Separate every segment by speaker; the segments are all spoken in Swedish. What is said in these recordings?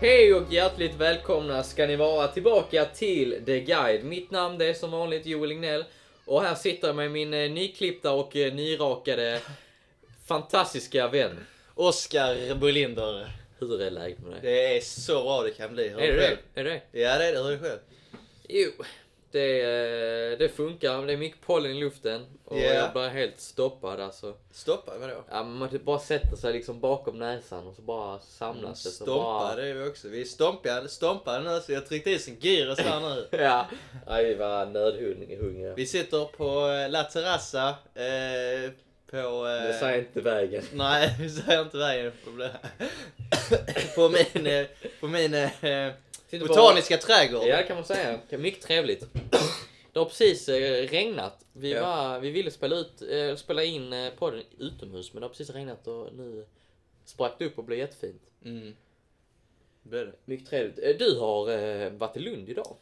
Speaker 1: Hej och hjärtligt välkomna ska ni vara tillbaka till The Guide. Mitt namn det är som vanligt Joel Lignell och här sitter jag med min eh, nyklippta och eh, nyrakade fantastiska vän.
Speaker 2: Oskar Bolinder.
Speaker 1: Hur är läget med dig?
Speaker 2: Det är så bra det kan bli. Hör
Speaker 1: Är
Speaker 2: du
Speaker 1: det
Speaker 2: själv?
Speaker 1: det? Är det det?
Speaker 2: Ja, det är det. Hör du själv?
Speaker 1: Jo, det, eh, det funkar. Det är mycket pollen i luften och
Speaker 2: Ja.
Speaker 1: jag blir helt stoppad alltså.
Speaker 2: Stoppa, vadå?
Speaker 1: Ja, men man typ bara sätter sig liksom bakom näsan och så bara samlas det. alltså, så
Speaker 2: Stompa,
Speaker 1: bara...
Speaker 2: Mm, det är vi också. Vi är stompiga- stompade nu, så jag tryckte i sin gyros här nu.
Speaker 1: Ja, Nej, vi var nödhungriga.
Speaker 2: Vi sitter på eh, La Terrassa, eh, på... eh,
Speaker 1: Det säger inte vägen.
Speaker 2: Nej, vi säger inte vägen. På, på min, eh, på min eh,
Speaker 1: Sitter bara-
Speaker 2: botaniska trädgård.
Speaker 1: Ja, det kan man säga. Mycket trevligt. Det har precis eh, regnat. Vi,
Speaker 2: Ja.
Speaker 1: var, vi ville spela, ut, eh, spela in eh, podden utomhus, men det har precis regnat och nu sprack det upp och blev jättefint.
Speaker 2: Mm. Det är det.
Speaker 1: Mycket trevligt. Eh, Du har eh, varit i Lund idag.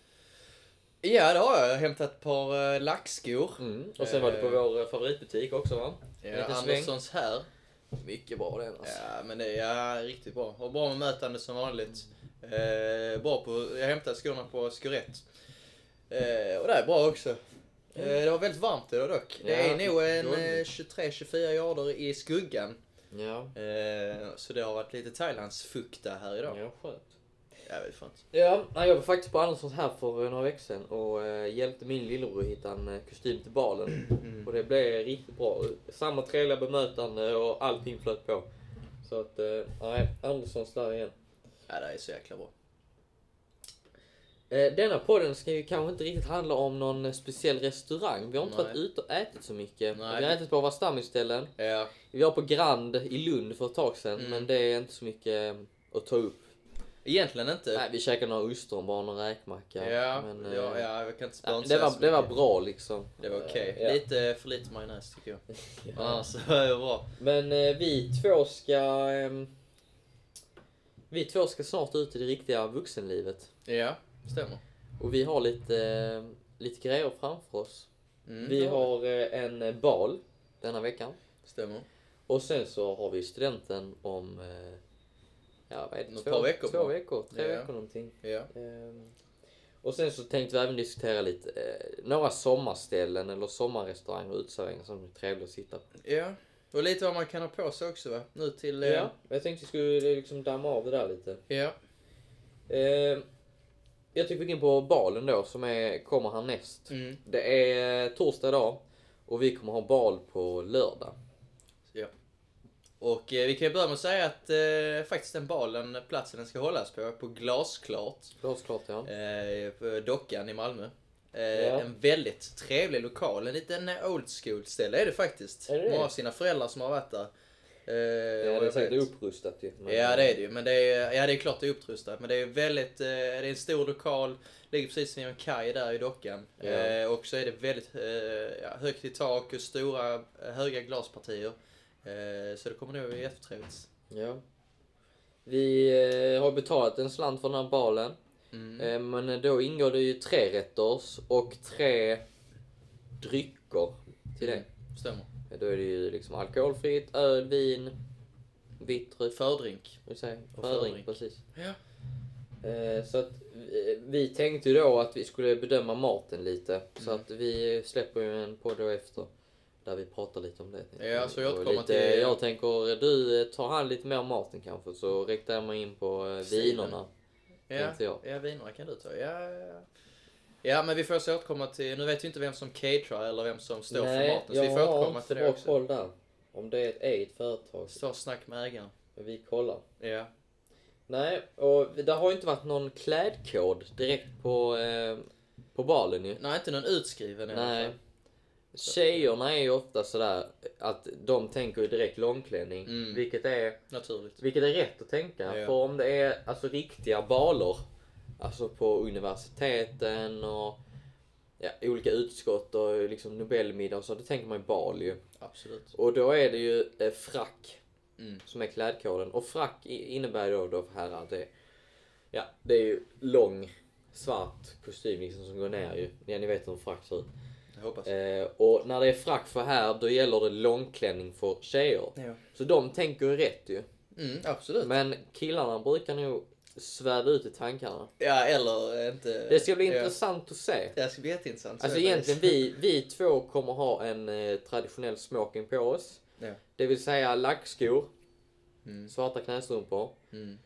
Speaker 2: Ja, det har jag. Jag har hämtat ett par eh, lackskor.
Speaker 1: Och sen var du på
Speaker 2: Eh.
Speaker 1: vår Mm. eh, favoritbutik också va? En
Speaker 2: Ja,
Speaker 1: liten sväng.
Speaker 2: Anderssons här.
Speaker 1: Mycket bra den alltså.
Speaker 2: Ja, men det är riktigt bra. Och bra bemötande som vanligt. Eh, bra på, jag hämtade skorna på Skorett. Eh, och det är bra också. Eh, det var väldigt varmt idag dock. Det
Speaker 1: Mm. Ja,
Speaker 2: är nog en eh,
Speaker 1: dåligt.
Speaker 2: 23-24 grader i skuggan.
Speaker 1: Ja.
Speaker 2: Eh, så det har varit lite Thailandsfukta här idag.
Speaker 1: Ja, skönt.
Speaker 2: Ja, det är skönt.
Speaker 1: Ja, nej, jag var faktiskt på Anderssons här för eh, några veckor sedan och eh, hjälpte min lillebror att hitta en eh, kostym till balen. Och det blev riktigt bra. Samma trevliga bemötande och allting flöt på. Så att, eh, nej, Anderssons där igen.
Speaker 2: Ja, det är så jäkla bra.
Speaker 1: Eh, denna podden ska ju kanske inte riktigt handla om någon speciell restaurang. Vi har inte
Speaker 2: Nej.
Speaker 1: varit ute och ätit så mycket.
Speaker 2: Nej.
Speaker 1: Vi har ätit på våra stammisställen.
Speaker 2: Ja,
Speaker 1: Vi var på Grand i Lund för ett tag sedan,
Speaker 2: Mm.
Speaker 1: men det är inte så mycket eh, att ta upp.
Speaker 2: egentligen inte.
Speaker 1: Nej, vi käkade några ostron, bara någon räkmacka.
Speaker 2: ja,
Speaker 1: men, eh,
Speaker 2: ja, ja, jag kan inte
Speaker 1: nej,
Speaker 2: sponsra
Speaker 1: det, var,
Speaker 2: så
Speaker 1: det var
Speaker 2: mycket.
Speaker 1: bra liksom.
Speaker 2: Det var okej.
Speaker 1: Eh, ja.
Speaker 2: Lite för lite majonnäs tycker jag.
Speaker 1: Ja.
Speaker 2: Annars är det bra.
Speaker 1: Men eh, vi två ska... ehm, vi två ska snart ut i det riktiga vuxenlivet.
Speaker 2: Ja, stämmer.
Speaker 1: Och vi har lite, eh, lite grejer framför oss.
Speaker 2: Mm,
Speaker 1: Vi
Speaker 2: ja,
Speaker 1: har eh, en bal denna veckan.
Speaker 2: Stämmer.
Speaker 1: Och sen så har vi studenten om... Eh, ja, vad är det?
Speaker 2: Om ett par veckor
Speaker 1: Två
Speaker 2: bara.
Speaker 1: veckor, tre
Speaker 2: Ja.
Speaker 1: veckor någonting.
Speaker 2: Ja.
Speaker 1: Ehm, och sen så tänkte vi även diskutera lite eh, några sommarställen eller sommarrestauranger och uteserveringar som är trevliga att sitta på.
Speaker 2: ja. Och lite vad man kan ha på sig också va? Nu till... eh,
Speaker 1: Ja, jag tänkte vi skulle liksom damma av det där lite.
Speaker 2: ja.
Speaker 1: Eh, jag tycker vi går in på balen då som är, kommer härnäst.
Speaker 2: Mm.
Speaker 1: Det är eh, torsdag idag och vi kommer ha bal på lördag.
Speaker 2: ja. Och eh, vi kan ju börja med att säga att eh, faktiskt den balen, platsen den ska hållas på, på Glasklart.
Speaker 1: Glasklart ja.
Speaker 2: Eh, på dockan i Malmö. Eh,
Speaker 1: Ja.
Speaker 2: En väldigt trevlig lokal. En liten eh, old school ställe är det faktiskt.
Speaker 1: Är det det?
Speaker 2: Många av sina föräldrar som har varit där. Eh,
Speaker 1: Ja,
Speaker 2: och
Speaker 1: det är
Speaker 2: jag
Speaker 1: säkert
Speaker 2: vet-
Speaker 1: upprustat ju. men- eh,
Speaker 2: Ja det är det ju. Men det är, ja, det är klart det är upprustat. Men det är väldigt, eh, det är en stor lokal. Ligger precis vid en kaj där i dockan.
Speaker 1: Ja.
Speaker 2: Eh, och så är det väldigt eh, ja, högt i tak och stora, eh, höga glaspartier. Eh, så det kommer nog bli jättetrevligt.
Speaker 1: Ja. Vi eh, har betalat en slant för den här balen.
Speaker 2: Mm.
Speaker 1: Eh, men då ingår det ju tre rätters och tre drycker till det.
Speaker 2: Mm. Stämmer.
Speaker 1: Eh, Då är det ju liksom alkoholfritt, öl, vin, vitt rött,
Speaker 2: Fördrink.
Speaker 1: vad säger jag?
Speaker 2: Och
Speaker 1: fördrink.
Speaker 2: fördrink.
Speaker 1: Precis.
Speaker 2: Ja.
Speaker 1: Eh, Så att eh, vi tänkte ju då att vi skulle bedöma maten lite. Så
Speaker 2: Mm.
Speaker 1: att vi släpper ju en podd då efter. Där vi pratar lite om det. tänkte
Speaker 2: Ja, så jag
Speaker 1: Och
Speaker 2: återkommer
Speaker 1: lite,
Speaker 2: till-
Speaker 1: Jag tänker, du eh, tar hand lite mer om maten kanske. Så riktar jag mig in på eh,
Speaker 2: Sidan.
Speaker 1: vinerna.
Speaker 2: Ja,
Speaker 1: Tänkte jag.
Speaker 2: ja vinerna kan du ta. Ja, ja, ja. ja men vi får så återkomma till, nu vet vi inte vem som caterar eller vem som står
Speaker 1: Nej,
Speaker 2: för maten.
Speaker 1: jag
Speaker 2: Så vi får
Speaker 1: har
Speaker 2: återkomma
Speaker 1: inte
Speaker 2: till
Speaker 1: så
Speaker 2: det
Speaker 1: bra
Speaker 2: också.
Speaker 1: koll där. Om det är ett eget företag.
Speaker 2: Så snack med ägaren.
Speaker 1: Men vi kollar.
Speaker 2: Ja.
Speaker 1: Nej, och det har ju inte varit någon klädkod direkt på, eh, på balen ju.
Speaker 2: Nej, inte någon utskriven i alla
Speaker 1: Nej.
Speaker 2: fall.
Speaker 1: Tjejerna är ju ofta sådär att de tänker ju direkt långklänning.
Speaker 2: Mm.
Speaker 1: Vilket, är,
Speaker 2: Naturligt.
Speaker 1: vilket är rätt att tänka.
Speaker 2: Ja.
Speaker 1: För om det är alltså riktiga baler. Alltså på universiteten och ja, olika utskott och liksom nobelmiddag och så. Då tänker man ju bal ju.
Speaker 2: Absolut.
Speaker 1: Och då är det ju eh, frack
Speaker 2: Mm.
Speaker 1: som är klädkoden. Och frack i- innebär då, då för herrar att det, ja, det är ju lång svart kostym liksom som går ner ju. Ja, ni vet hur en frack ser ut.
Speaker 2: Jag hoppas.
Speaker 1: Eh, och när det är frack för herr, då gäller det långklänning för tjejer.
Speaker 2: Ja.
Speaker 1: Så de tänker ju rätt ju.
Speaker 2: Mm, absolut.
Speaker 1: Men killarna brukar nog svävar ut i tankarna.
Speaker 2: Ja, eller eh, inte...
Speaker 1: Det ska bli
Speaker 2: ja.
Speaker 1: intressant att se.
Speaker 2: Det ska bli jätteintressant.
Speaker 1: Alltså egentligen vi, vi två kommer ha en eh, traditionell smoking på oss.
Speaker 2: Ja.
Speaker 1: Det vill säga lackskor,
Speaker 2: Mm.
Speaker 1: svarta knästrumpor,
Speaker 2: Mm.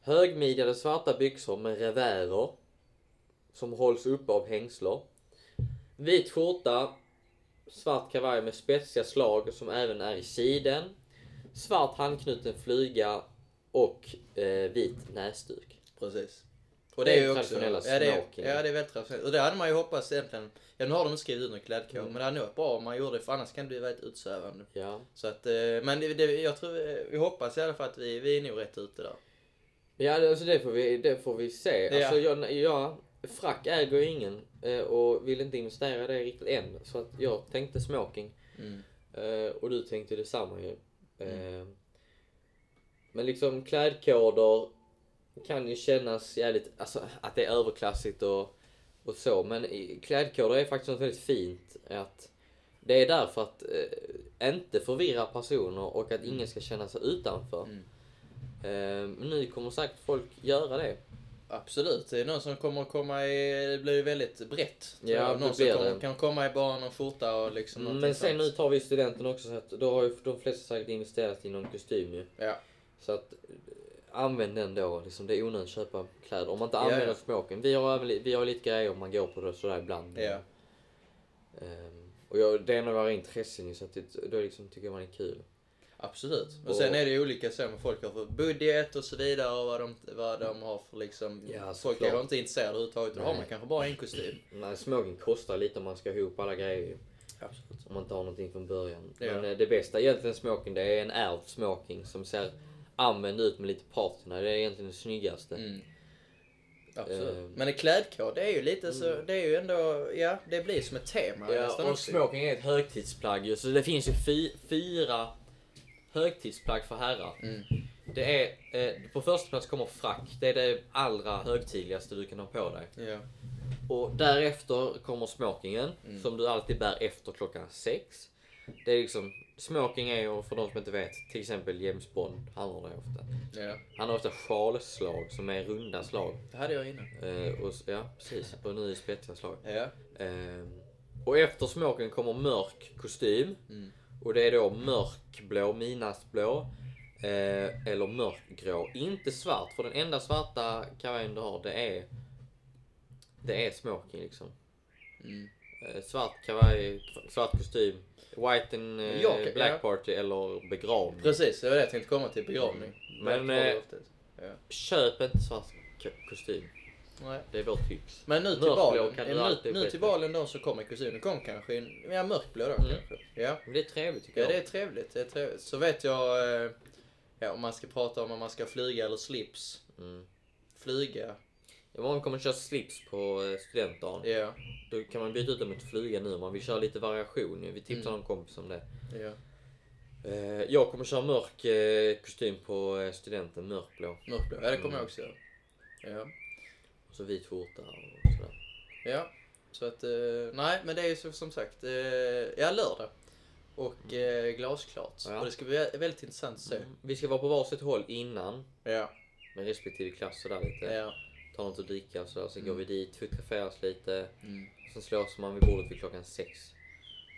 Speaker 1: högmidjade svarta byxor med revärer som hålls uppe av hängslor. Vit skjorta, svart kavaj med spetsiga slag som även är i siden, svart handknuten flyga och eh, vit näsduk.
Speaker 2: Precis.
Speaker 1: Det
Speaker 2: Och det
Speaker 1: är
Speaker 2: är ju också...
Speaker 1: traditionella
Speaker 2: ja, det är,
Speaker 1: smoking.
Speaker 2: ja, det är väldigt traditionellt. Och det hade man ju hoppats egentligen. Ja, nu har de inte skrivit ut någon klädkod,
Speaker 1: Mm.
Speaker 2: men det hade nog varit bra om man gjorde det, för annars kan det ju vara ett utsvävande.
Speaker 1: Ja.
Speaker 2: Så att, eh, men det, det, jag tror, eh, vi hoppas i alla fall att vi, vi är nog rätt ute där.
Speaker 1: Ja, det- alltså det får vi, det får vi se.
Speaker 2: Ja.
Speaker 1: Alltså, jag, jag, frack äger ju ingen eh, och vill inte investera i det riktigt än. Så att jag tänkte smoking
Speaker 2: Mm.
Speaker 1: eh, och du tänkte detsamma ju. Eh, Men liksom klädkoder kan ju kännas jävligt, alltså att det är överklassigt och, och så. Men i- klädkoder är faktiskt något väldigt fint. Att det är där för att eh, inte förvirra personer och att ingen ska känna sig utanför.
Speaker 2: Mm.
Speaker 1: Eh, Men nu kommer säkert folk göra det.
Speaker 2: Absolut, det är någon som kommer att komma i, det blir ju väldigt brett. tror
Speaker 1: Ja,
Speaker 2: jag.
Speaker 1: det
Speaker 2: någon
Speaker 1: blir
Speaker 2: som kommer,
Speaker 1: det. Mm,
Speaker 2: kan komma i bara någon skjorta och liksom någonting
Speaker 1: Men sen
Speaker 2: sånt.
Speaker 1: nu tar vi studenten också så att då har ju de flesta säkert investerat i någon kostym ju.
Speaker 2: Ja.
Speaker 1: Så att eh, använd den då. Liksom, det är onödigt att köpa kläder om man inte
Speaker 2: Ja,
Speaker 1: använder
Speaker 2: ja.
Speaker 1: smoken. Vi har, även li- vi har lite grejer om man går på det sådär ibland.
Speaker 2: Ja.
Speaker 1: Ehm, och jag, det är en av våra intressen ju så att det, då liksom tycker jag man är kul.
Speaker 2: Absolut. Och,
Speaker 1: Och-
Speaker 2: sen är det ju olika så vad folk har för budget och så vidare och vad de, vad de har för liksom...
Speaker 1: Ja,
Speaker 2: folk
Speaker 1: såklart.
Speaker 2: är ju inte intresserade överhuvudtaget. Då har
Speaker 1: Nej.
Speaker 2: man kanske bara en kostym.
Speaker 1: Nej, smoking kostar lite om man ska ha ihop alla grejer ju.
Speaker 2: Absolut.
Speaker 1: Om man inte har någonting från början.
Speaker 2: Ja.
Speaker 1: Men eh, det bästa egentligen smoking det är en ärvd smoking som ser använd ut med lite patina. Det är egentligen det snyggaste.
Speaker 2: Mm. Absolut.
Speaker 1: Ehm.
Speaker 2: Men en klädkod, det är ju lite så... Det är ju ändå... Ja, det blir som ett tema
Speaker 1: Mm. Ja, och smoking är ett högtidsplagg ju, så det finns ju fy, fyra högtidsplagg för herrar.
Speaker 2: Mm.
Speaker 1: Det är, eh, på första plats kommer frack, det är det allra högtidligaste du kan ha på dig.
Speaker 2: Ja.
Speaker 1: Och därefter kommer smokingen, som du alltid bär efter klockan sex. Det är liksom, smoking är ju, för de som inte vet, till exempel James Bond, han har det ofta.
Speaker 2: ja.
Speaker 1: Han har ofta sjalslag som är runda slag.
Speaker 2: Det hade jag innan.
Speaker 1: Eh, och, s- ja, precis. Och nu är det spetsiga slag.
Speaker 2: Ja.
Speaker 1: Ehm, och efter smoken kommer mörk kostym.
Speaker 2: Mm.
Speaker 1: Och det är då mörkblå, midnattsblå. Eh, eller mörkgrå. Inte svart, för den enda svarta kavajen du har det är det är smoking liksom.
Speaker 2: Mm.
Speaker 1: Eh, svart kavaj, svart kostym. White and eh,
Speaker 2: Ja, okej,
Speaker 1: black
Speaker 2: ja.
Speaker 1: party eller begravning.
Speaker 2: Precis, det var det jag tänkte komma till. Begravning.
Speaker 1: Men,
Speaker 2: Väldigt bra
Speaker 1: eh,
Speaker 2: oftast.
Speaker 1: Köp inte svart k- kostym.
Speaker 2: Nej.
Speaker 1: Det är vårt tips.
Speaker 2: Men nu till
Speaker 1: Mörkblå
Speaker 2: valen,
Speaker 1: kan
Speaker 2: eh,
Speaker 1: du
Speaker 2: nu,
Speaker 1: alltid
Speaker 2: nu
Speaker 1: skita
Speaker 2: till
Speaker 1: i.
Speaker 2: valen då så kommer kusinen kom kanske en, ja mörkblå
Speaker 1: Mm.
Speaker 2: då kanske. Ja.
Speaker 1: Men det är trevligt tycker
Speaker 2: ja, det
Speaker 1: jag.
Speaker 2: är trevligt. Det är trevligt. Så vet jag, eh, ja, om man ska prata om om man ska flyga eller slips.
Speaker 1: Mm.
Speaker 2: Flyga,
Speaker 1: Imorgon kommer jag köra slips på eh, studentdagen.
Speaker 2: ja.
Speaker 1: Då kan man byta ut dem mot flyga nu om man vill köra lite variation. ju. Vi tipsar
Speaker 2: Mm.
Speaker 1: någon kompis om det.
Speaker 2: ja.
Speaker 1: Eh, jag kommer köra mörk eh, kostym på eh, studenten, mörkblå.
Speaker 2: Mörkblå, ja det kommer jag också göra. Ja.
Speaker 1: Och så vit skjorta och sådär.
Speaker 2: ja. Så att, eh, nej men det är ju så, som sagt, eh, ja lördag. Och eh, glasklart.
Speaker 1: Ja.
Speaker 2: Och det ska bli vä- väldigt intressant att se.
Speaker 1: Mm. Vi ska vara på varsitt håll innan.
Speaker 2: Ja,
Speaker 1: Med respektive klass sådär lite.
Speaker 2: ja.
Speaker 1: Ta något att dricka och sådär. Sen
Speaker 2: Mm.
Speaker 1: går vi dit, fotograferas lite.
Speaker 2: Mm.
Speaker 1: Sen slås man vid bordet vid klockan sex.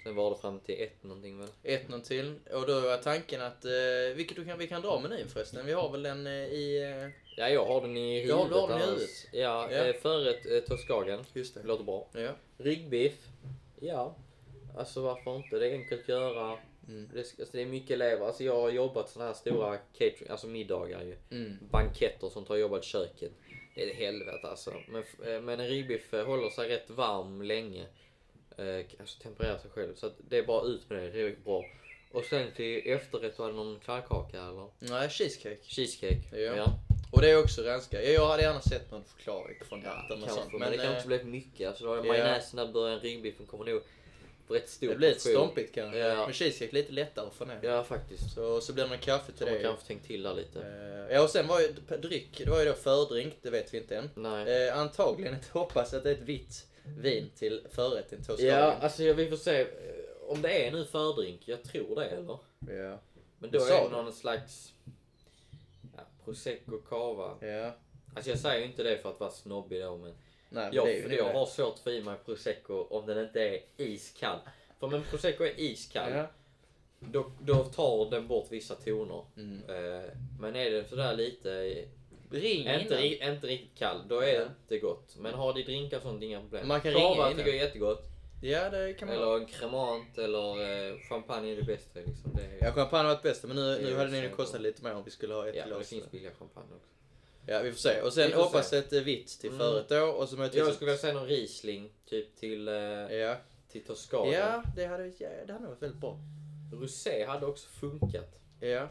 Speaker 1: Sen var det fram till ett någonting väl?
Speaker 2: Ett någon till. Och då var tanken att, eh, vilket du kan, vi kan dra menyn förresten. Vi har väl den eh, i... Eh,
Speaker 1: Ja, jag har den i huvudet.
Speaker 2: Ja, du har den i
Speaker 1: annars.
Speaker 2: huvudet.
Speaker 1: Ja,
Speaker 2: Ja.
Speaker 1: Eh, förrätt eh, toskagen.
Speaker 2: Just
Speaker 1: Låter bra.
Speaker 2: Ja.
Speaker 1: Ryggbiff. Ja. Alltså varför inte? Det är enkelt att göra.
Speaker 2: Mm.
Speaker 1: Det, ska- alltså, det är mycket elever. Alltså, jag har jobbat sådana här stora catering, alltså middagar ju.
Speaker 2: Mm.
Speaker 1: Banketter som tar jobbat köket. Det är det helvete alltså. Men, f- eh, men en ryggbiff eh, håller sig rätt varm länge. Eh, alltså tempererar sig själv. Så att det är bara ut med det. Det är bra. Och sen till efterrätt, var det någon kladdkaka eller?
Speaker 2: Nej, cheesecake.
Speaker 1: Cheesecake?
Speaker 2: Ja. Och det är också renska. Ja, Jag hade gärna sett någon förklaring från ja, eller något
Speaker 1: kanske,
Speaker 2: sånt.
Speaker 1: men,
Speaker 2: Men,
Speaker 1: det
Speaker 2: eh,
Speaker 1: kanske blev mycket. Alltså, då har
Speaker 2: ja.
Speaker 1: majonnäsen där början, ryggbiffen kommer nog på rätt stor
Speaker 2: det blir lite
Speaker 1: portion.
Speaker 2: stompigt kanske.
Speaker 1: Ja.
Speaker 2: Men cheesecake lite lättare för ner.
Speaker 1: Ja, faktiskt.
Speaker 2: Så, så blir det någon kaffe till
Speaker 1: Så man
Speaker 2: dig.
Speaker 1: kanske tänkt till där lite.
Speaker 2: Eh, Ja, och sen var ju p- dryck, det var ju då fördrink, det vet vi inte än.
Speaker 1: Nej.
Speaker 2: Eh, antagligen, jag hoppas att det är ett vitt vin till förrätten till
Speaker 1: Ja,
Speaker 2: Australien.
Speaker 1: alltså jag- vi får se eh, om det är nu fördrink. Jag tror det, eller?
Speaker 2: Ja.
Speaker 1: Men då
Speaker 2: Det
Speaker 1: är
Speaker 2: sa
Speaker 1: det någon slags ja, prosecco cava.
Speaker 2: ja.
Speaker 1: Alltså jag säger inte det för att vara snobbig då men
Speaker 2: Nej, men
Speaker 1: jag,
Speaker 2: det är ju
Speaker 1: för
Speaker 2: det.
Speaker 1: jag har svårt att få i mig prosecco om den inte är iskall. För om en prosecco är iskall
Speaker 2: Ja.
Speaker 1: då, då tar den bort vissa toner.
Speaker 2: Mm.
Speaker 1: Eh, men är den sådär lite,
Speaker 3: Ring
Speaker 1: inte,
Speaker 3: innan.
Speaker 1: ri- inte riktigt kall, då är
Speaker 2: Ja.
Speaker 1: det inte gott. Men har du drinkar och sånt, inga problem.
Speaker 2: Man kan
Speaker 1: Cava
Speaker 2: ringa innan.
Speaker 1: tycker jag är jättegott.
Speaker 2: ja, det kan man
Speaker 1: Eller en cremant eller eh, champagne är det bästa liksom. Det är,
Speaker 2: Ja, champagne var det bästa, men nu,
Speaker 1: Det
Speaker 2: nu
Speaker 1: är
Speaker 2: hade den
Speaker 1: också
Speaker 2: ju kostat
Speaker 1: bra.
Speaker 2: lite mer om vi skulle ha ett
Speaker 1: ja, det
Speaker 2: glas.
Speaker 1: finns billiga champagne också.
Speaker 2: Ja, vi får se. Och sen
Speaker 1: Vi får se.
Speaker 2: hoppas ett eh, vitt till
Speaker 1: Mm.
Speaker 2: förrätt då och så möjligtvis...
Speaker 1: Jag
Speaker 2: ett-
Speaker 1: skulle vilja säga någon Riesling, typ till, eh,
Speaker 2: Ja,
Speaker 1: till Toscana.
Speaker 2: ja det, hade, ja, det hade nog varit väldigt bra.
Speaker 1: Rosé hade också funkat.
Speaker 2: Ja.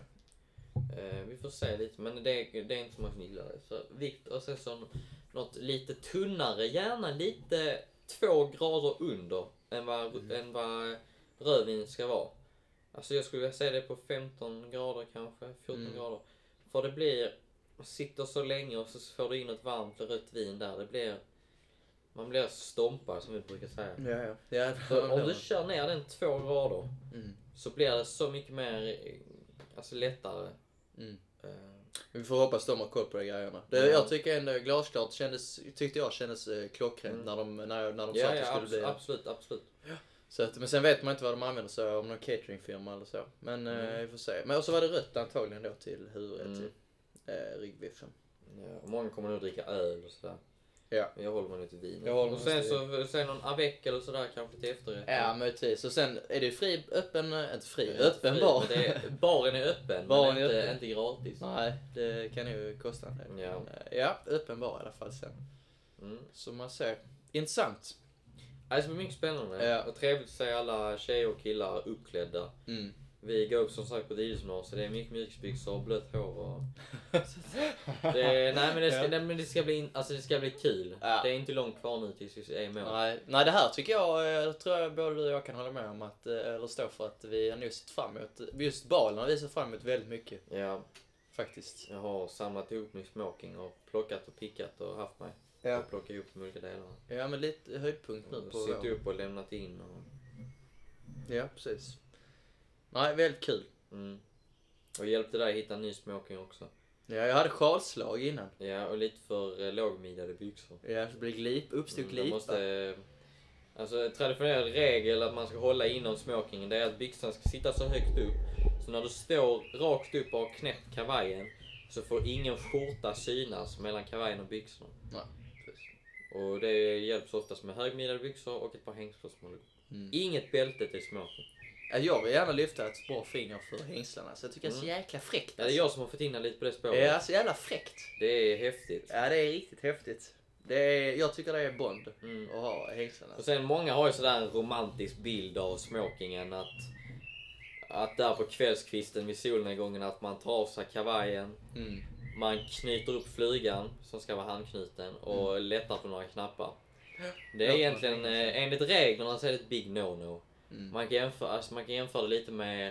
Speaker 1: Eh, vi får se lite, men det, det är inte så många som gillar det. Så vitt och sen så något lite tunnare, gärna lite två grader under än vad,
Speaker 2: Mm.
Speaker 1: än vad rödvin ska vara. Alltså jag skulle vilja säga det på 15 grader kanske, 14
Speaker 2: Mm.
Speaker 1: grader. För det blir, man sitter så länge och så får du in ett varmt rött vin där. Det blir, man blir stompad som vi brukar säga.
Speaker 2: Ja, ja. Mm. ja
Speaker 1: Så om du kör ner den två grader
Speaker 2: Mm.
Speaker 1: så blir det så mycket mer, eh, alltså lättare.
Speaker 2: Mm.
Speaker 1: Eh,
Speaker 2: Vi får hoppas de har koll på de grejerna. Det,
Speaker 1: Ja.
Speaker 2: Jag tycker ändå glasklart kändes, tyckte jag kändes eh, klockrent
Speaker 1: Mm.
Speaker 2: när de, när, jag- när de sa
Speaker 1: Ja,
Speaker 2: att det
Speaker 1: ja
Speaker 2: skulle bli
Speaker 1: absolut,
Speaker 2: det.
Speaker 1: absolut, absolut.
Speaker 2: Så att, men sen vet man inte vad de använder sig av, om någon cateringfirma eller så. Men eh,
Speaker 1: Mm.
Speaker 2: vi får se. Men och så var det rött antagligen då till huvudrätt
Speaker 1: Mm.
Speaker 2: till eh, ryggbiffen.
Speaker 1: Ja, och många kommer nog dricka öl och sådär.
Speaker 2: Ja.
Speaker 1: Men jag håller mig lite vin.
Speaker 2: Jag håller mig
Speaker 1: och sen,
Speaker 2: till
Speaker 1: så, sen någon avec eller sådär kanske till efterrätt.
Speaker 2: Ja, möjligtvis. Och sen är det fri, öppen, eh, inte fri,
Speaker 1: Det är inte
Speaker 2: öppen
Speaker 1: fri,
Speaker 2: bar.
Speaker 1: men det är- Baren är öppen,
Speaker 2: Baren
Speaker 1: men
Speaker 2: är
Speaker 1: inte,
Speaker 2: öppen.
Speaker 1: inte gratis.
Speaker 2: Nej, det kan ju kosta en del.
Speaker 1: Ja.
Speaker 2: Eh, Ja, öppen bar i alla fall sen.
Speaker 1: Mm.
Speaker 2: Som man ser. Intressant.
Speaker 1: Ja, Det ska bli mycket spännande.
Speaker 2: Ja.
Speaker 1: Och trevligt att se alla tjejer och killar uppklädda.
Speaker 2: Mm.
Speaker 1: Vi går upp som sagt på Didismar så det är mycket mjukisbyxor och blött hår. Och... Det, nej, men det ska,
Speaker 2: Ja.
Speaker 1: nej men det ska bli, in- alltså, det ska bli kul.
Speaker 2: Ja.
Speaker 1: Det är inte långt kvar nu tills vi är i mål.
Speaker 2: Nej, nej, det här tycker jag, eh, tror jag både du och jag kan hålla med om, att, eh, eller stå för att vi har nog sett fram emot, just balen har vi sett fram emot väldigt mycket
Speaker 1: Ja.
Speaker 2: faktiskt.
Speaker 1: Jag har samlat ihop min smoking och plockat och pickat och haft mig.
Speaker 2: Ja.
Speaker 1: Och plockat ihop de olika delarna.
Speaker 2: Ja, men lite höjdpunkt nu
Speaker 1: Och
Speaker 2: på
Speaker 1: Sytt
Speaker 2: vår-
Speaker 1: upp och lämnat in. Och,
Speaker 2: Ja, precis. Nej, väldigt kul.
Speaker 1: mm. och hjälpte dig hitta en ny smoking också.
Speaker 2: Ja, jag hade sjalslag innan.
Speaker 1: Ja, och lite för eh, lågmidjade byxor.
Speaker 2: Ja, så blir glip, uppstod
Speaker 1: jag
Speaker 2: glipa.
Speaker 1: måste, eh, alltså, en traditionell regel att man ska hålla inom smokingen det är att byxan ska sitta så högt upp. Så när du står rakt upp och har knäppt kavajen så får ingen skjorta synas mellan kavajen och byxorna.
Speaker 2: Nej, precis.
Speaker 1: Och det hjälps oftast med högmidjade byxor och ett par hängslor som håller
Speaker 2: Mm.
Speaker 1: Inget bälte till smoking.
Speaker 2: Ja, Jag vill gärna lyfta ett bra finger för hängslarna, så jag tycker det är så jäkla fräckt.
Speaker 1: Mm.
Speaker 2: alltså.
Speaker 1: Ja, det är jag som har fått in lite på det spåret.
Speaker 2: Ja, så jävla fräckt.
Speaker 1: Det är häftigt.
Speaker 2: Ja, det är riktigt häftigt. Det är, jag tycker det är Bond
Speaker 1: Mm.
Speaker 2: att ha hängslarna.
Speaker 1: Och sen många har ju sådär en romantisk bild av smokingen att att där på kvällskvisten vid solnedgången att man tar av sig kavajen,
Speaker 2: Mm.
Speaker 1: man knyter upp flygan som ska vara handknuten och lättar på några knappar. Det är
Speaker 2: Ja,
Speaker 1: egentligen,
Speaker 2: det är
Speaker 1: eh, enligt reglerna så är det ett big no-no.
Speaker 2: Mm.
Speaker 1: Man kan jämföra, alltså man kan jämföra det lite med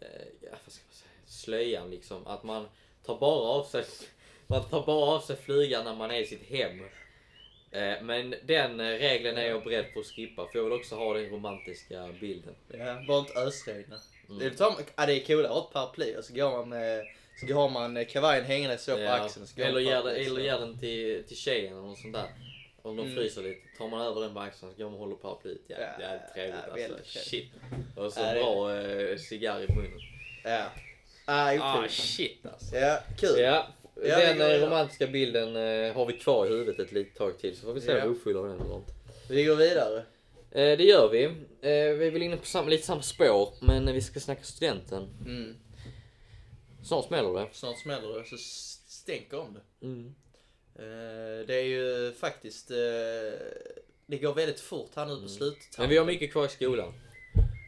Speaker 1: eh, ja, vad ska man säga, slöjan liksom. Att man tar bara av sig man tar bara av sig flygan när man är i sitt hem. Eh, men den eh, regeln är jag beredd på att skippa för jag vill också ha den romantiska bilden.
Speaker 2: Ja, bara inte ösregna.
Speaker 1: Mm.
Speaker 2: Det, tar man, ja, det är coolare att ha ett paraply och så går man med så går man eh, kavajen hängande så på
Speaker 1: Ja,
Speaker 2: axeln. Så går
Speaker 1: eller
Speaker 2: man
Speaker 1: ger, den,
Speaker 2: paraply, så-
Speaker 1: eller ger den till, till tjejen eller något sånt där. Om de
Speaker 2: Mm.
Speaker 1: fryser lite, tar man över den på axeln så går man och håller paraplyet. Ja,
Speaker 2: Ja,
Speaker 1: det är trevligt
Speaker 2: ja,
Speaker 1: alltså.
Speaker 2: väldigt trevligt.
Speaker 1: Shit. Och så
Speaker 2: Ja, det-
Speaker 1: bra eh, cigarr i munnen.
Speaker 2: Ja. Ah,
Speaker 1: Ah
Speaker 2: otroligt.
Speaker 1: shit alltså.
Speaker 2: Ja, kul.
Speaker 1: Ja,
Speaker 2: Ja, det
Speaker 1: den
Speaker 2: gör
Speaker 1: eh,
Speaker 2: jag.
Speaker 1: romantiska bilden eh, har vi kvar i huvudet ett litet tag till så får vi se
Speaker 2: Ja.
Speaker 1: om vi uppfyller den eller inte.
Speaker 2: Vi går vidare.
Speaker 1: Eh, det gör vi. Eh, vi är väl inne på samma, lite samma spår men vi ska snacka studenten.
Speaker 2: Mm.
Speaker 1: Snart smäller det.
Speaker 2: Snart smäller det så s- stänker om det. Eh, det är ju faktiskt... eh, det går väldigt fort här nu på slutet.
Speaker 1: Mm. Men vi har mycket kvar i skolan.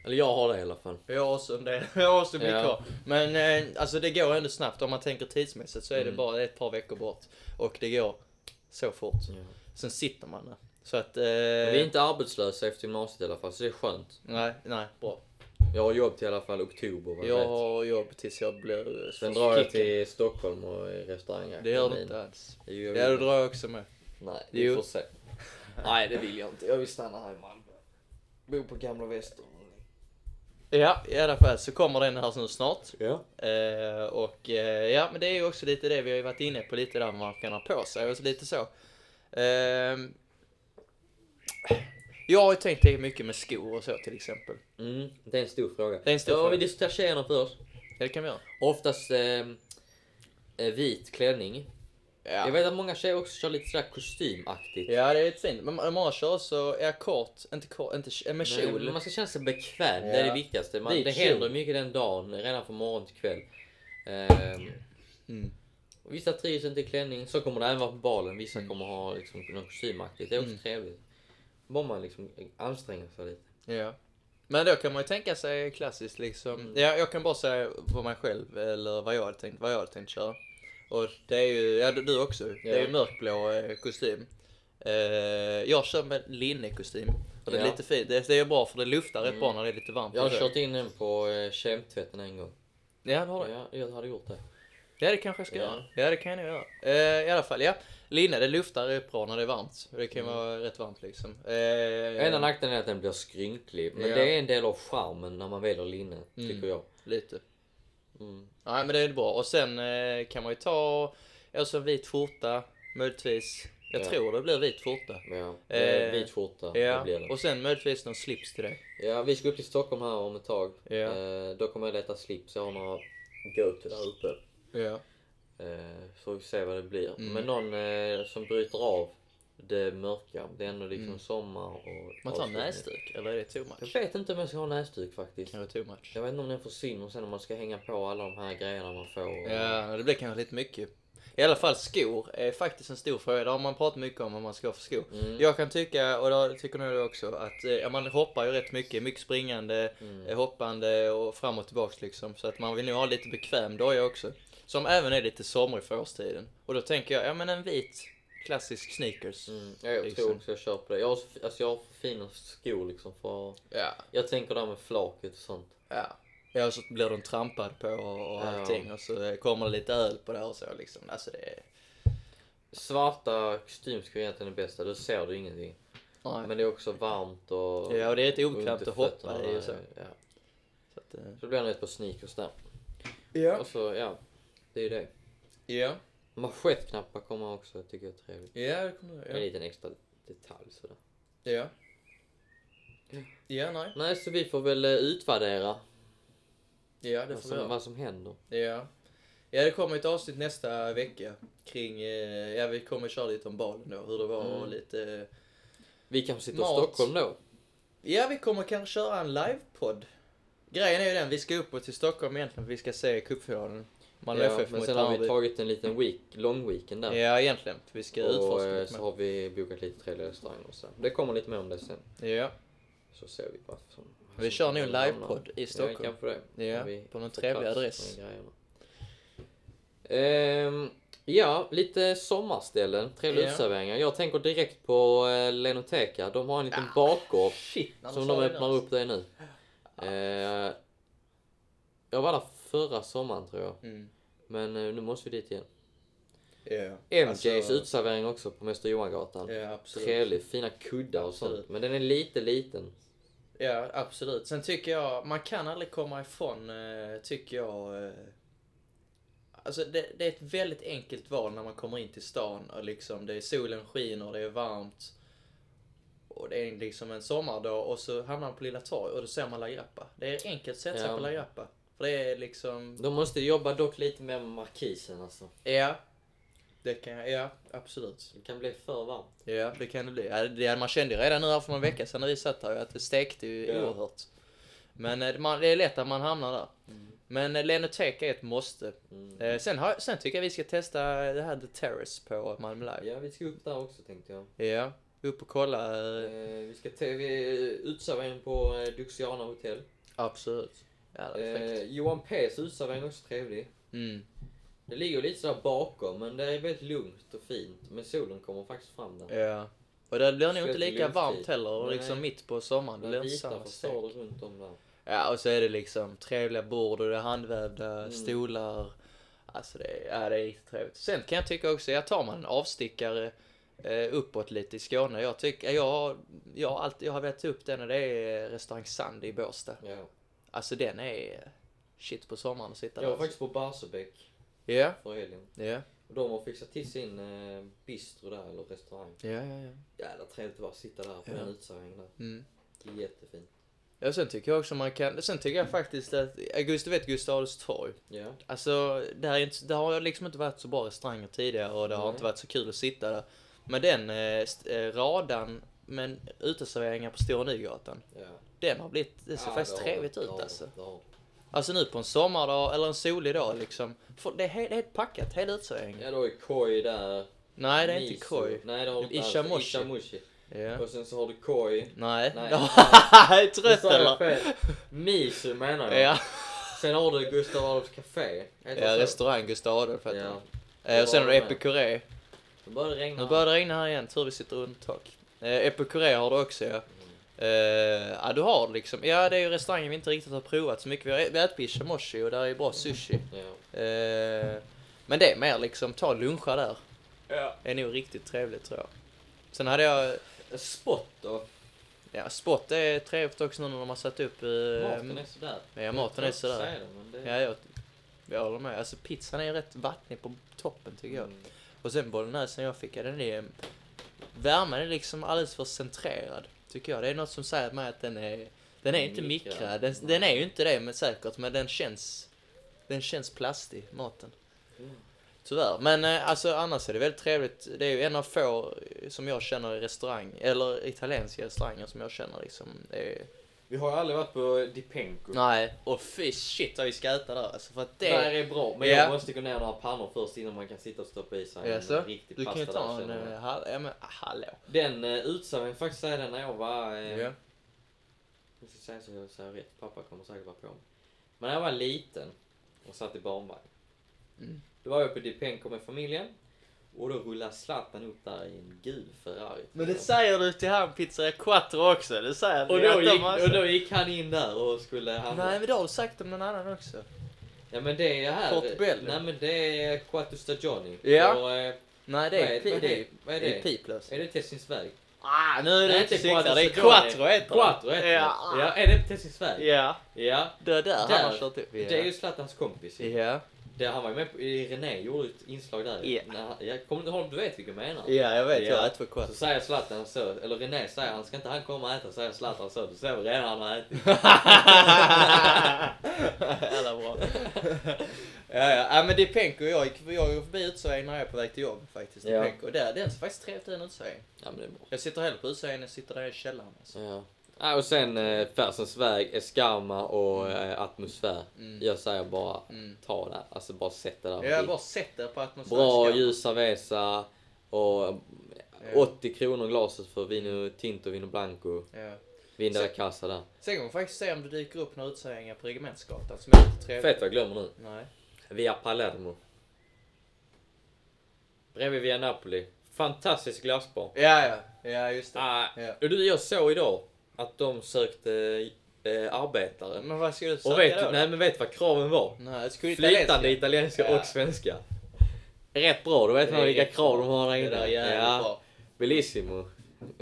Speaker 1: Eller jag har det i alla fall.
Speaker 2: Jag har också en del, jag har också mycket
Speaker 1: Ja.
Speaker 2: kvar. Men eh, alltså det går ändå snabbt. Om man tänker tidsmässigt så är det
Speaker 1: Mm.
Speaker 2: bara ett par veckor bort. Och det går så fort. Sen sitter man där. Så att... Eh,
Speaker 1: Men vi är inte arbetslösa efter gymnasiet i alla fall så det är skönt.
Speaker 2: Nej, nej, bra.
Speaker 1: Jag har jobb till i alla fall oktober vad jag
Speaker 2: Jag
Speaker 1: vet.
Speaker 2: har jobb tills jag blir... eh,
Speaker 1: Sen drar jag
Speaker 2: kicken.
Speaker 1: till Stockholm och är restaurangakademin.
Speaker 2: Det gör du inte alls.
Speaker 1: Det gör
Speaker 2: Ja,
Speaker 1: jag
Speaker 2: då
Speaker 1: inte.
Speaker 2: drar jag också med.
Speaker 1: Nej, vi
Speaker 2: Jo.
Speaker 1: får se. Nej, det vill jag inte. Jag vill stanna här i Malmö. Bo på Gamla Väster.
Speaker 2: Ja, i alla fall så kommer den här nu snart.
Speaker 1: Ja.
Speaker 2: Eh, och eh, ja, men det är ju också lite det vi har ju varit inne på lite där vad man kan ha på sig och så lite så. Ehm, jag har ju tänkt det mycket med skor och så till exempel.
Speaker 1: Mm, det är en stor fråga.
Speaker 2: Det är en stor
Speaker 1: ja,
Speaker 2: fråga.
Speaker 1: vi diskuterar tjejerna först.
Speaker 2: Ja, det kan vi göra.
Speaker 1: Oftast eh, eh, vit klänning.
Speaker 2: Ja,
Speaker 1: Jag vet att många tjejer också kör lite sådär kostymaktigt.
Speaker 2: ja det är lite fint. Men man- man kör så, är kort, inte kort, inte k- med
Speaker 1: Men
Speaker 2: kjol.
Speaker 1: Man ska känna sig bekväm, det är
Speaker 2: Ja.
Speaker 1: det viktigaste. Man,
Speaker 2: Vit
Speaker 1: det
Speaker 2: kjol.
Speaker 1: händer mycket den dagen, redan från morgon till kväll. Ehm,
Speaker 2: Mm.
Speaker 1: och vissa trivs inte i klänning, så kommer det även vara på balen. Vissa
Speaker 2: Mm.
Speaker 1: kommer ha liksom, något kostymaktigt, det är också trevligt. Bara man liksom anstränger sig lite.
Speaker 2: Ja. Men då kan man ju tänka sig klassiskt liksom.
Speaker 1: Mm.
Speaker 2: Ja, jag kan bara säga vad mig själv, eller vad jag hade tänkt, vad jag hade tänkt köra. Och det är ju, ja du också, det är ju
Speaker 1: Ja.
Speaker 2: mörkblå eh, kostym. Eh, jag kör med linnekostym. Och det är
Speaker 1: Ja. Mm.
Speaker 2: lite fint, det, det är bra för det luftar rätt bra när det är lite varmt.
Speaker 1: Jag har
Speaker 2: och så.
Speaker 1: kört in den på eh, kemtvätten en gång.
Speaker 2: Ja, det har du.
Speaker 1: Ja, jag hade gjort det.
Speaker 2: Ja, det kanske jag ska
Speaker 1: Ja.
Speaker 2: göra. Ja, det kan jag nog göra. Eh, I alla fall, ja. Linne, det luftar rätt bra när det är varmt. Och Det kan
Speaker 1: Mm.
Speaker 2: vara rätt varmt liksom. Eh,
Speaker 1: Enda nackdelen är att den blir skrynklig, men
Speaker 2: Ja.
Speaker 1: det är en del av charmen när man väljer linne, tycker jag.
Speaker 2: Lite.
Speaker 1: Mm.
Speaker 2: Nej men det är bra. Och sen eh, kan man ju ta alltså en vit skjorta, möjligtvis. Jag
Speaker 1: Ja.
Speaker 2: tror det blir vit skjorta.
Speaker 1: Ja, det är
Speaker 2: Eh,
Speaker 1: vit skjorta, det
Speaker 2: Ja,
Speaker 1: blir det.
Speaker 2: och sen möjligtvis någon slips till dig.
Speaker 1: Ja, vi ska upp till Stockholm här om ett tag.
Speaker 2: Ja.
Speaker 1: Eh, då kommer jag leta slips. Jag har några go-to där uppe.
Speaker 2: Ja.
Speaker 1: Eh, så vi får se vad det blir.
Speaker 2: Mm.
Speaker 1: Men någon eh, som bryter av det mörka. Det är ändå liksom sommar och...
Speaker 2: Mm. Man tar
Speaker 1: avslutning.
Speaker 2: näsduk, eller är det too
Speaker 1: Jag
Speaker 2: much?
Speaker 1: vet inte om jag ska ha näsduk faktiskt.
Speaker 2: Kanske too much.
Speaker 1: Jag vet inte om den försvinner sen om man ska hänga på alla de här grejerna man får. och-
Speaker 2: Ja, det blir kanske lite mycket. I alla fall skor är faktiskt en stor fråga. Där har man pratat mycket om vad man ska ha för skor.
Speaker 1: Mm.
Speaker 2: Jag kan tycka, och det tycker nog du också, att eh, ja, man hoppar ju rätt mycket. Mycket springande,
Speaker 1: Mm.
Speaker 2: eh, hoppande och fram och tillbaks liksom. Så att man vill nog ha lite bekväm doja också. Som även är lite somrig för årstiden. Och då tänker jag, ja men en vit klassisk sneakers.
Speaker 1: Mm, ja, jag
Speaker 2: Liksom.
Speaker 1: tror också jag köper det. Jag har, så- alltså jag har för fina skor liksom. För,
Speaker 2: Ja.
Speaker 1: jag tänker där med flaket och sånt.
Speaker 2: Ja. Ja, och så blir de trampad på och, och
Speaker 1: Ja.
Speaker 2: allting. Och så eh, kommer det lite öl på det här och så liksom. Alltså det är...
Speaker 1: Svarta kostymskor är egentligen det bästa. Då ser du ingenting.
Speaker 2: Nej.
Speaker 1: Men det är också varmt och...
Speaker 2: Ja, och det är lite
Speaker 1: under
Speaker 2: obekvämt att hoppa
Speaker 1: fötterna,
Speaker 2: i och så.
Speaker 1: Ja.
Speaker 2: så att, eh,
Speaker 1: Så blir det ett par sneakers där.
Speaker 2: ja.
Speaker 1: Och så, ja. Det är ju det.
Speaker 2: Ja.
Speaker 1: Manschettknappar kommer också, jag tycker jag är trevligt.
Speaker 2: Ja, det kommer
Speaker 1: En
Speaker 2: jag.
Speaker 1: liten extra detalj sådär.
Speaker 2: Ja. Ja, nej.
Speaker 1: Nej, så vi får väl eh, utvärdera
Speaker 2: Ja, det
Speaker 1: vad
Speaker 2: får vi
Speaker 1: som,
Speaker 2: göra.
Speaker 1: vad som händer.
Speaker 2: Ja. Ja, det kommer ett avsnitt nästa vecka kring, eh, ja vi kommer köra lite om balen då, hur det var och
Speaker 1: Mm.
Speaker 2: lite... eh,
Speaker 1: Vi kanske sitter
Speaker 2: Mat.
Speaker 1: i Stockholm då.
Speaker 2: Ja, vi kommer kanske köra en livepodd. Grejen är ju den, vi ska uppåt till Stockholm egentligen för vi ska se cupfinalen. Malmö
Speaker 1: ja,
Speaker 2: FF
Speaker 1: men
Speaker 2: mot
Speaker 1: sen har vi
Speaker 2: Hammarby.
Speaker 1: tagit en liten week, lång weekend där.
Speaker 2: Ja, egentligen. För vi ska
Speaker 1: och
Speaker 2: utforska
Speaker 1: eh,
Speaker 2: lite
Speaker 1: så
Speaker 2: mer.
Speaker 1: har vi bokat lite trevliga restauranger och så. Det kommer lite mer om det sen.
Speaker 2: Ja,
Speaker 1: Så ser vi vad som...
Speaker 2: vi kör nu en
Speaker 1: hamnar.
Speaker 2: livepodd i
Speaker 1: Ja,
Speaker 2: Stockholm.
Speaker 1: kanske det.
Speaker 2: Ja,
Speaker 1: Om vi
Speaker 2: på någon
Speaker 1: får
Speaker 2: trevlig
Speaker 1: plats
Speaker 2: adress.
Speaker 1: med grejerna. Ehm, ja, lite sommarställen, trevliga
Speaker 2: Ja.
Speaker 1: uteserveringar. Jag tänker direkt på eh, Lenoteka. De har en liten
Speaker 2: Ah.
Speaker 1: bakgård
Speaker 2: Shit, när
Speaker 1: som
Speaker 2: sa
Speaker 1: de
Speaker 2: det
Speaker 1: öppnar
Speaker 2: där.
Speaker 1: upp där nu. Eh, jag var där förra sommaren tror jag,
Speaker 2: Mm.
Speaker 1: men eh, nu måste vi dit igen.
Speaker 2: Ja.
Speaker 1: MJs
Speaker 2: Alltså,
Speaker 1: uteservering också på Mäster Johangatan.
Speaker 2: Ja, absolut.
Speaker 1: Trevlig, fina kuddar och sånt.
Speaker 2: Absolut.
Speaker 1: Men den är lite liten.
Speaker 2: Ja, absolut. Sen tycker jag, man kan aldrig komma ifrån, eh, tycker jag... Eh, alltså det, det är ett väldigt enkelt val när man kommer in till stan. Och liksom, det är solen skiner, det är varmt. Och det är liksom en sommardag och så hamnar man på Lilla Torg och då ser man La Grappa. Det är enkelt att sätta sig
Speaker 1: Ja.
Speaker 2: på La Grappa. För det är liksom...
Speaker 1: De måste jobba dock lite mer med markisen alltså.
Speaker 2: Ja. Det kan jag, ja absolut.
Speaker 1: Det kan bli för varmt.
Speaker 2: Ja, det kan det bli. Ja, det, man kände ju redan nu här för någon vecka sedan när vi satt här ju att det stekte ju
Speaker 1: Ja.
Speaker 2: oerhört. Men eh, man, det är lätt att man hamnar där. Men eh, Lenoteka är ett måste.
Speaker 1: Mm.
Speaker 2: Eh, Sen, har, sen tycker jag vi ska testa det här The Terrace på Malmö Live.
Speaker 1: Ja, vi ska upp där också tänkte jag.
Speaker 2: Ja, upp och kolla. eh,
Speaker 1: Eh, vi ska te- vi- utservering på eh, Duxiana hotell.
Speaker 2: Absolut. Ja, det är
Speaker 1: Eh,
Speaker 2: fräckt.
Speaker 1: Johan P's utservering är också trevlig.
Speaker 2: Mm.
Speaker 1: Det ligger lite sådär bakom, men det är väldigt lugnt och fint. Men solen kommer faktiskt fram där.
Speaker 2: Ja. Och det blir nog
Speaker 1: Ska
Speaker 2: inte
Speaker 1: till
Speaker 2: lika
Speaker 1: lunchtid.
Speaker 2: varmt heller, och
Speaker 1: Nej.
Speaker 2: liksom mitt på sommaren. Det
Speaker 1: Det
Speaker 2: blir inte
Speaker 1: vita
Speaker 2: samma sak.
Speaker 1: fasader runt om där.
Speaker 2: Ja, och så är det liksom trevliga bord och det är handvävda
Speaker 1: Mm.
Speaker 2: stolar. Alltså det är, ja, det är riktigt trevligt. Sen kan jag tycka också, jag tar man en avstickare eh, uppåt lite i Skåne. Jag tycker, jag, har- jag, har alltid, jag har velat ta upp den och det är restaurang Sand i Båstad.
Speaker 1: Ja.
Speaker 2: Alltså den är shit på sommaren att sitta
Speaker 1: Jag var
Speaker 2: där.
Speaker 1: faktiskt på Barsebäck
Speaker 2: Ja,
Speaker 1: förra helgen.
Speaker 2: ja,
Speaker 1: Och de har fixat till sin eh, bistro där, eller restaurang.
Speaker 2: ja, ja. ja.
Speaker 1: Jävla trevligt att bara sitta där på
Speaker 2: Ja.
Speaker 1: den utsagningen där.
Speaker 2: Mm.
Speaker 1: Jättefint.
Speaker 2: Ja, sen tycker jag också man kan, sen tycker jag faktiskt att, Augusti vet Gustav Adolfs torg.
Speaker 1: Ja.
Speaker 2: Alltså, där, är inte, där har jag liksom inte varit så bra restauranger tidigare och det har
Speaker 1: Nej.
Speaker 2: inte varit så kul att sitta där. Men den eh, st- eh, radan, men uteserveringar på Stora Nygatan,
Speaker 1: ja.
Speaker 2: den har blivit, det ser
Speaker 1: Ja,
Speaker 2: faktiskt
Speaker 1: har
Speaker 2: trevligt
Speaker 1: de.
Speaker 2: ut
Speaker 1: Det har de.
Speaker 2: alltså.
Speaker 1: Det har de.
Speaker 2: Alltså nu på en sommardag eller en solig dag liksom. För det är helt, helt packat, hela uteserveringen.
Speaker 1: Ja, då är Koi där.
Speaker 2: Nej, det är
Speaker 1: Miso.
Speaker 2: inte koj.
Speaker 1: Nej, det har du inte alls.
Speaker 2: Ishamoshi.
Speaker 1: Ishamoshi.
Speaker 2: Ja.
Speaker 1: Och sen så har du Koi.
Speaker 2: Nej.
Speaker 1: Nej.
Speaker 2: är
Speaker 1: Nu
Speaker 2: trött
Speaker 1: sa jag
Speaker 2: eller?
Speaker 1: fel. Miso menar jag.
Speaker 2: Ja,
Speaker 1: Sen har du Gustav Adolfs Café. Heter
Speaker 2: ja
Speaker 1: det så?
Speaker 2: restaurang Gustav Adolf heter
Speaker 1: Ja.
Speaker 2: den. Eh, Och sen har du
Speaker 1: Var med.
Speaker 2: Epicuré.
Speaker 1: Då börjar det regna.
Speaker 2: Nu börjar det regna här igen, tur vi sitter under tak. Eh, Epicuré har du också ja.
Speaker 1: Mm,
Speaker 2: Eh, ja, du har liksom. Ja, det är ju restauranger vi inte riktigt har provat så mycket. Vi har ä- vi har ätit på Ishimashi och där är ju bra sushi.
Speaker 1: Ja.
Speaker 2: Eh, men det är mer liksom, ta luncha där.
Speaker 1: Ja.
Speaker 2: Det är nog riktigt trevligt tror jag. Sen hade jag,
Speaker 1: Eh, Spot då?
Speaker 2: ja spot är trevligt också nu när de har satt upp... eh,
Speaker 1: Maten är sådär.
Speaker 2: Ja, maten är
Speaker 1: Jag tror jag
Speaker 2: sådär.
Speaker 1: säger det, men det-
Speaker 2: Ja, jag, jag håller med. Alltså pizzan är ju rätt vattnig på toppen tycker jag.
Speaker 1: Mm.
Speaker 2: Och sen bolognesen jag fick, ja, den är... Värmen är liksom alldeles för centrerad, tycker jag. Det är något som säger mig att den är... Den är inte
Speaker 1: Mikrad.
Speaker 2: mikrad. Den, den är ju inte det men säkert, men den känns... Den känns plastig, maten.
Speaker 1: Mm.
Speaker 2: Tyvärr. Men eh, alltså annars är det väldigt trevligt. Det är ju en av få eh, som jag känner i restaurang, eller italienska restauranger som jag känner liksom. Det är...
Speaker 1: Vi har ju aldrig varit på Dipenko.
Speaker 2: Nej, och fy shit vad vi ska äta där alltså. För att det...
Speaker 1: Det här är bra, men
Speaker 2: Ja.
Speaker 1: jag måste gå ner några pannor först innan man kan sitta och stoppa i sig
Speaker 2: Jaså?
Speaker 1: en riktig
Speaker 2: Du kan ju
Speaker 1: pasta
Speaker 2: ta
Speaker 1: där,
Speaker 2: en...
Speaker 1: känner
Speaker 2: eh,
Speaker 1: jag.
Speaker 2: Hall... Ja men hallå.
Speaker 1: Den uh, utsade mig faktiskt säga den när jag var... eh,
Speaker 2: Ja.
Speaker 1: Jag ska säga så jag säger rätt, pappa kommer säkert vara på mig. Men när jag var liten och satt i barnvagn.
Speaker 2: Mm.
Speaker 1: Då var jag på Dipenko med familjen. Och då rullade Zlatan upp där i en gul Ferrari.
Speaker 2: Men det säger du till han pizzeria Quattro också, det säger
Speaker 1: och,
Speaker 2: du
Speaker 1: då
Speaker 2: att de
Speaker 1: gick,
Speaker 2: har-
Speaker 1: och då gick han in där och skulle handla.
Speaker 2: Nej men det har du sagt om någon annan också.
Speaker 1: Ja men det är här.
Speaker 2: Portobello.
Speaker 1: Nej men det är Quattro Stagioni.
Speaker 2: Ja.
Speaker 1: Och, eh,
Speaker 2: Nej
Speaker 1: vad
Speaker 2: det är,
Speaker 1: är
Speaker 2: pi-
Speaker 1: vad är
Speaker 2: det
Speaker 1: det?
Speaker 2: är,
Speaker 1: Vad är
Speaker 2: det är
Speaker 1: det?
Speaker 2: piplös.
Speaker 1: Är det Tessinsväg?
Speaker 2: Ah, nu är
Speaker 1: Nej,
Speaker 2: det inte
Speaker 1: inte
Speaker 2: cyklar, det är
Speaker 1: Quattro
Speaker 2: Quattro heter det.
Speaker 1: Quattro heter det.
Speaker 2: Ja.
Speaker 1: Ja, är det inte Tessinsväg?
Speaker 2: Ja,
Speaker 1: Ja.
Speaker 2: det är där,
Speaker 1: Där.
Speaker 2: han har kört upp. Ja.
Speaker 1: Det är ju Zlatans kompis. ju.
Speaker 2: Ja.
Speaker 1: Det, han var ju med på, i René gjorde ett inslag där.
Speaker 2: Ja.
Speaker 1: När han- Jag kommer inte ihåg, du vet vilken jag menar.
Speaker 2: ja, jag vet,
Speaker 1: Ja.
Speaker 2: jag har ätit på
Speaker 1: Så
Speaker 2: Quattro.
Speaker 1: säger Zlatan så, eller René säger han ska inte han komma och äta, säger Zlatan så. Du ser väl redan han har ätit.
Speaker 2: Jävla bra. ja, ja. ja, men Dipenko och jag gick, jag gick förbi uteserveringen när jag är på väg till jobbet faktiskt.
Speaker 1: Ja.
Speaker 2: Dipenko. Och där, den ser faktiskt trevligt ut, en uteservering.
Speaker 1: Ja men det är bra.
Speaker 2: Jag sitter hellre på uteserveringen än jag sitter där i källaren. Alltså.
Speaker 1: Ja. Ja, och sen eh, Färsens väg, Eskarma och eh, atmosfär.
Speaker 2: Mm.
Speaker 1: Jag säger bara
Speaker 2: Mm.
Speaker 1: ta det, alltså bara sätt det där.
Speaker 2: Jag har bara sett det på atmosfären.
Speaker 1: Bra ljusavesa och eh, 80 kronor glaset för Vino Tinto, Vino Blanco,
Speaker 2: Ja.
Speaker 1: Vin della
Speaker 2: Så-
Speaker 1: Casa där.
Speaker 2: Sen kan man faktiskt se om det dyker upp några uteserveringar på Regementsgatan som är lite trevligt.
Speaker 1: Fett vad jag glömmer nu.
Speaker 2: Nej.
Speaker 1: Via Palermo. Bredvid Via Napoli. Fantastisk glassbar.
Speaker 2: Ja, ja. Ja, just det.
Speaker 1: Ah,
Speaker 2: Ja.
Speaker 1: och du, jag såg idag att de sökte eh, arbetare.
Speaker 2: Men vad ska du söka
Speaker 1: Och vet,
Speaker 2: Mm, då?
Speaker 1: du- nej, men vet du vad kraven var?
Speaker 2: Nej, jag skulle
Speaker 1: Flytande
Speaker 2: italienska.
Speaker 1: italienska
Speaker 2: Ja.
Speaker 1: och svenska. Rätt bra, då vet
Speaker 2: Det
Speaker 1: man
Speaker 2: är
Speaker 1: vilka
Speaker 2: rätt
Speaker 1: krav
Speaker 2: bra.
Speaker 1: de har där
Speaker 2: Det där är
Speaker 1: inne.
Speaker 2: jävligt
Speaker 1: Ja,
Speaker 2: bra.
Speaker 1: bellissimo.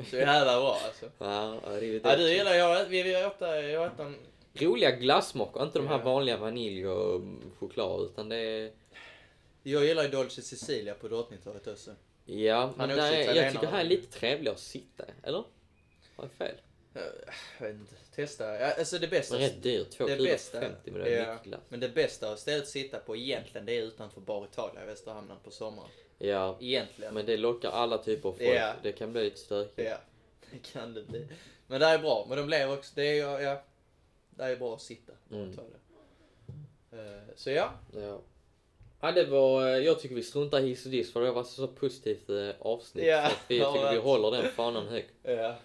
Speaker 2: Så jävla bra alltså.
Speaker 1: Ja, arrivederci.
Speaker 2: Ja, du gillar, jag, vi, vi åt, jag åt en...
Speaker 1: Roliga glassmaker, inte de här
Speaker 2: Ja.
Speaker 1: vanliga vanilj och mm, choklad utan det är...
Speaker 2: Jag gillar ju Dolce Sicilia på Drottningtorget också.
Speaker 1: Ja, men
Speaker 2: är
Speaker 1: där
Speaker 2: också
Speaker 1: är, jag
Speaker 2: italienare.
Speaker 1: tycker här är lite trevligare att sitta, eller? Har jag fel?
Speaker 2: Eh, Jag vet inte, testa. Ja, Alltså det bästa...
Speaker 1: Men rätt dyrt, två
Speaker 2: Det
Speaker 1: kulor för
Speaker 2: bästa-
Speaker 1: 50 men det är
Speaker 2: ja.
Speaker 1: mycket glass.
Speaker 2: Men det bästa stället att sitta på egentligen det är utanför Bar Italia i Västra Hamnen på sommaren.
Speaker 1: Ja,
Speaker 2: Egentligen.
Speaker 1: men det lockar alla typer av folk.
Speaker 2: Ja.
Speaker 1: Det kan bli lite stökigt.
Speaker 2: Ja, det kan det bli. Men det här är bra. Men de lever också... Det är ju... Ja, det här är bra att sitta.
Speaker 1: Mm.
Speaker 2: Ta det. Eh, Så ja.
Speaker 1: Ja. Ja, det var, eh, jag tycker vi struntar i hiss och diss för det har varit så positivt eh, avsnitt.
Speaker 2: Ja,
Speaker 1: Så att vi
Speaker 2: det har
Speaker 1: tycker vi
Speaker 2: varit.
Speaker 1: håller den fanan högt.
Speaker 2: Ja.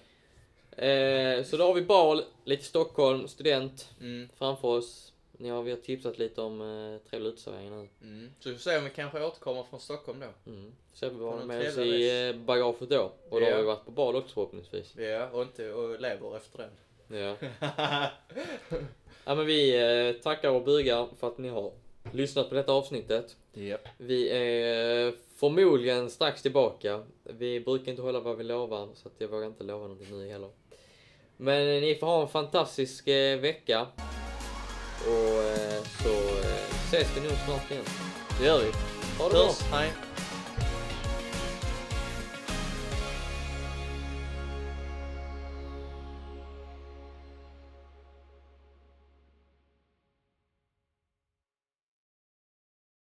Speaker 1: Eh, så då har vi bal, lite Stockholm, student
Speaker 2: Mm,
Speaker 1: framför oss. Ni har, vi har tipsat lite om eh, trevliga uteserveringar nu.
Speaker 2: mm. Så vi får se om vi kanske återkommer från Stockholm då.
Speaker 1: Mm. Så vi har
Speaker 2: någon
Speaker 1: med oss
Speaker 2: trevlig
Speaker 1: i eh, bagaget då. Och då
Speaker 2: Ja.
Speaker 1: har vi varit på bal också förhoppningsvis.
Speaker 2: Ja, och inte och lever efter den.
Speaker 1: Ja. ja men vi eh, tackar och bugar för att ni har lyssnat på detta avsnittet.
Speaker 2: Japp.
Speaker 1: Vi är eh, förmodligen strax tillbaka. Vi brukar inte hålla vad vi lovar, så att jag vågar inte lova någonting nu heller. Men eh, ni får ha en fantastisk eh, vecka. Och eh, så eh, ses vi nog snart igen. Det gör vi.
Speaker 2: Ha det
Speaker 1: Puss.
Speaker 2: bra. Hej.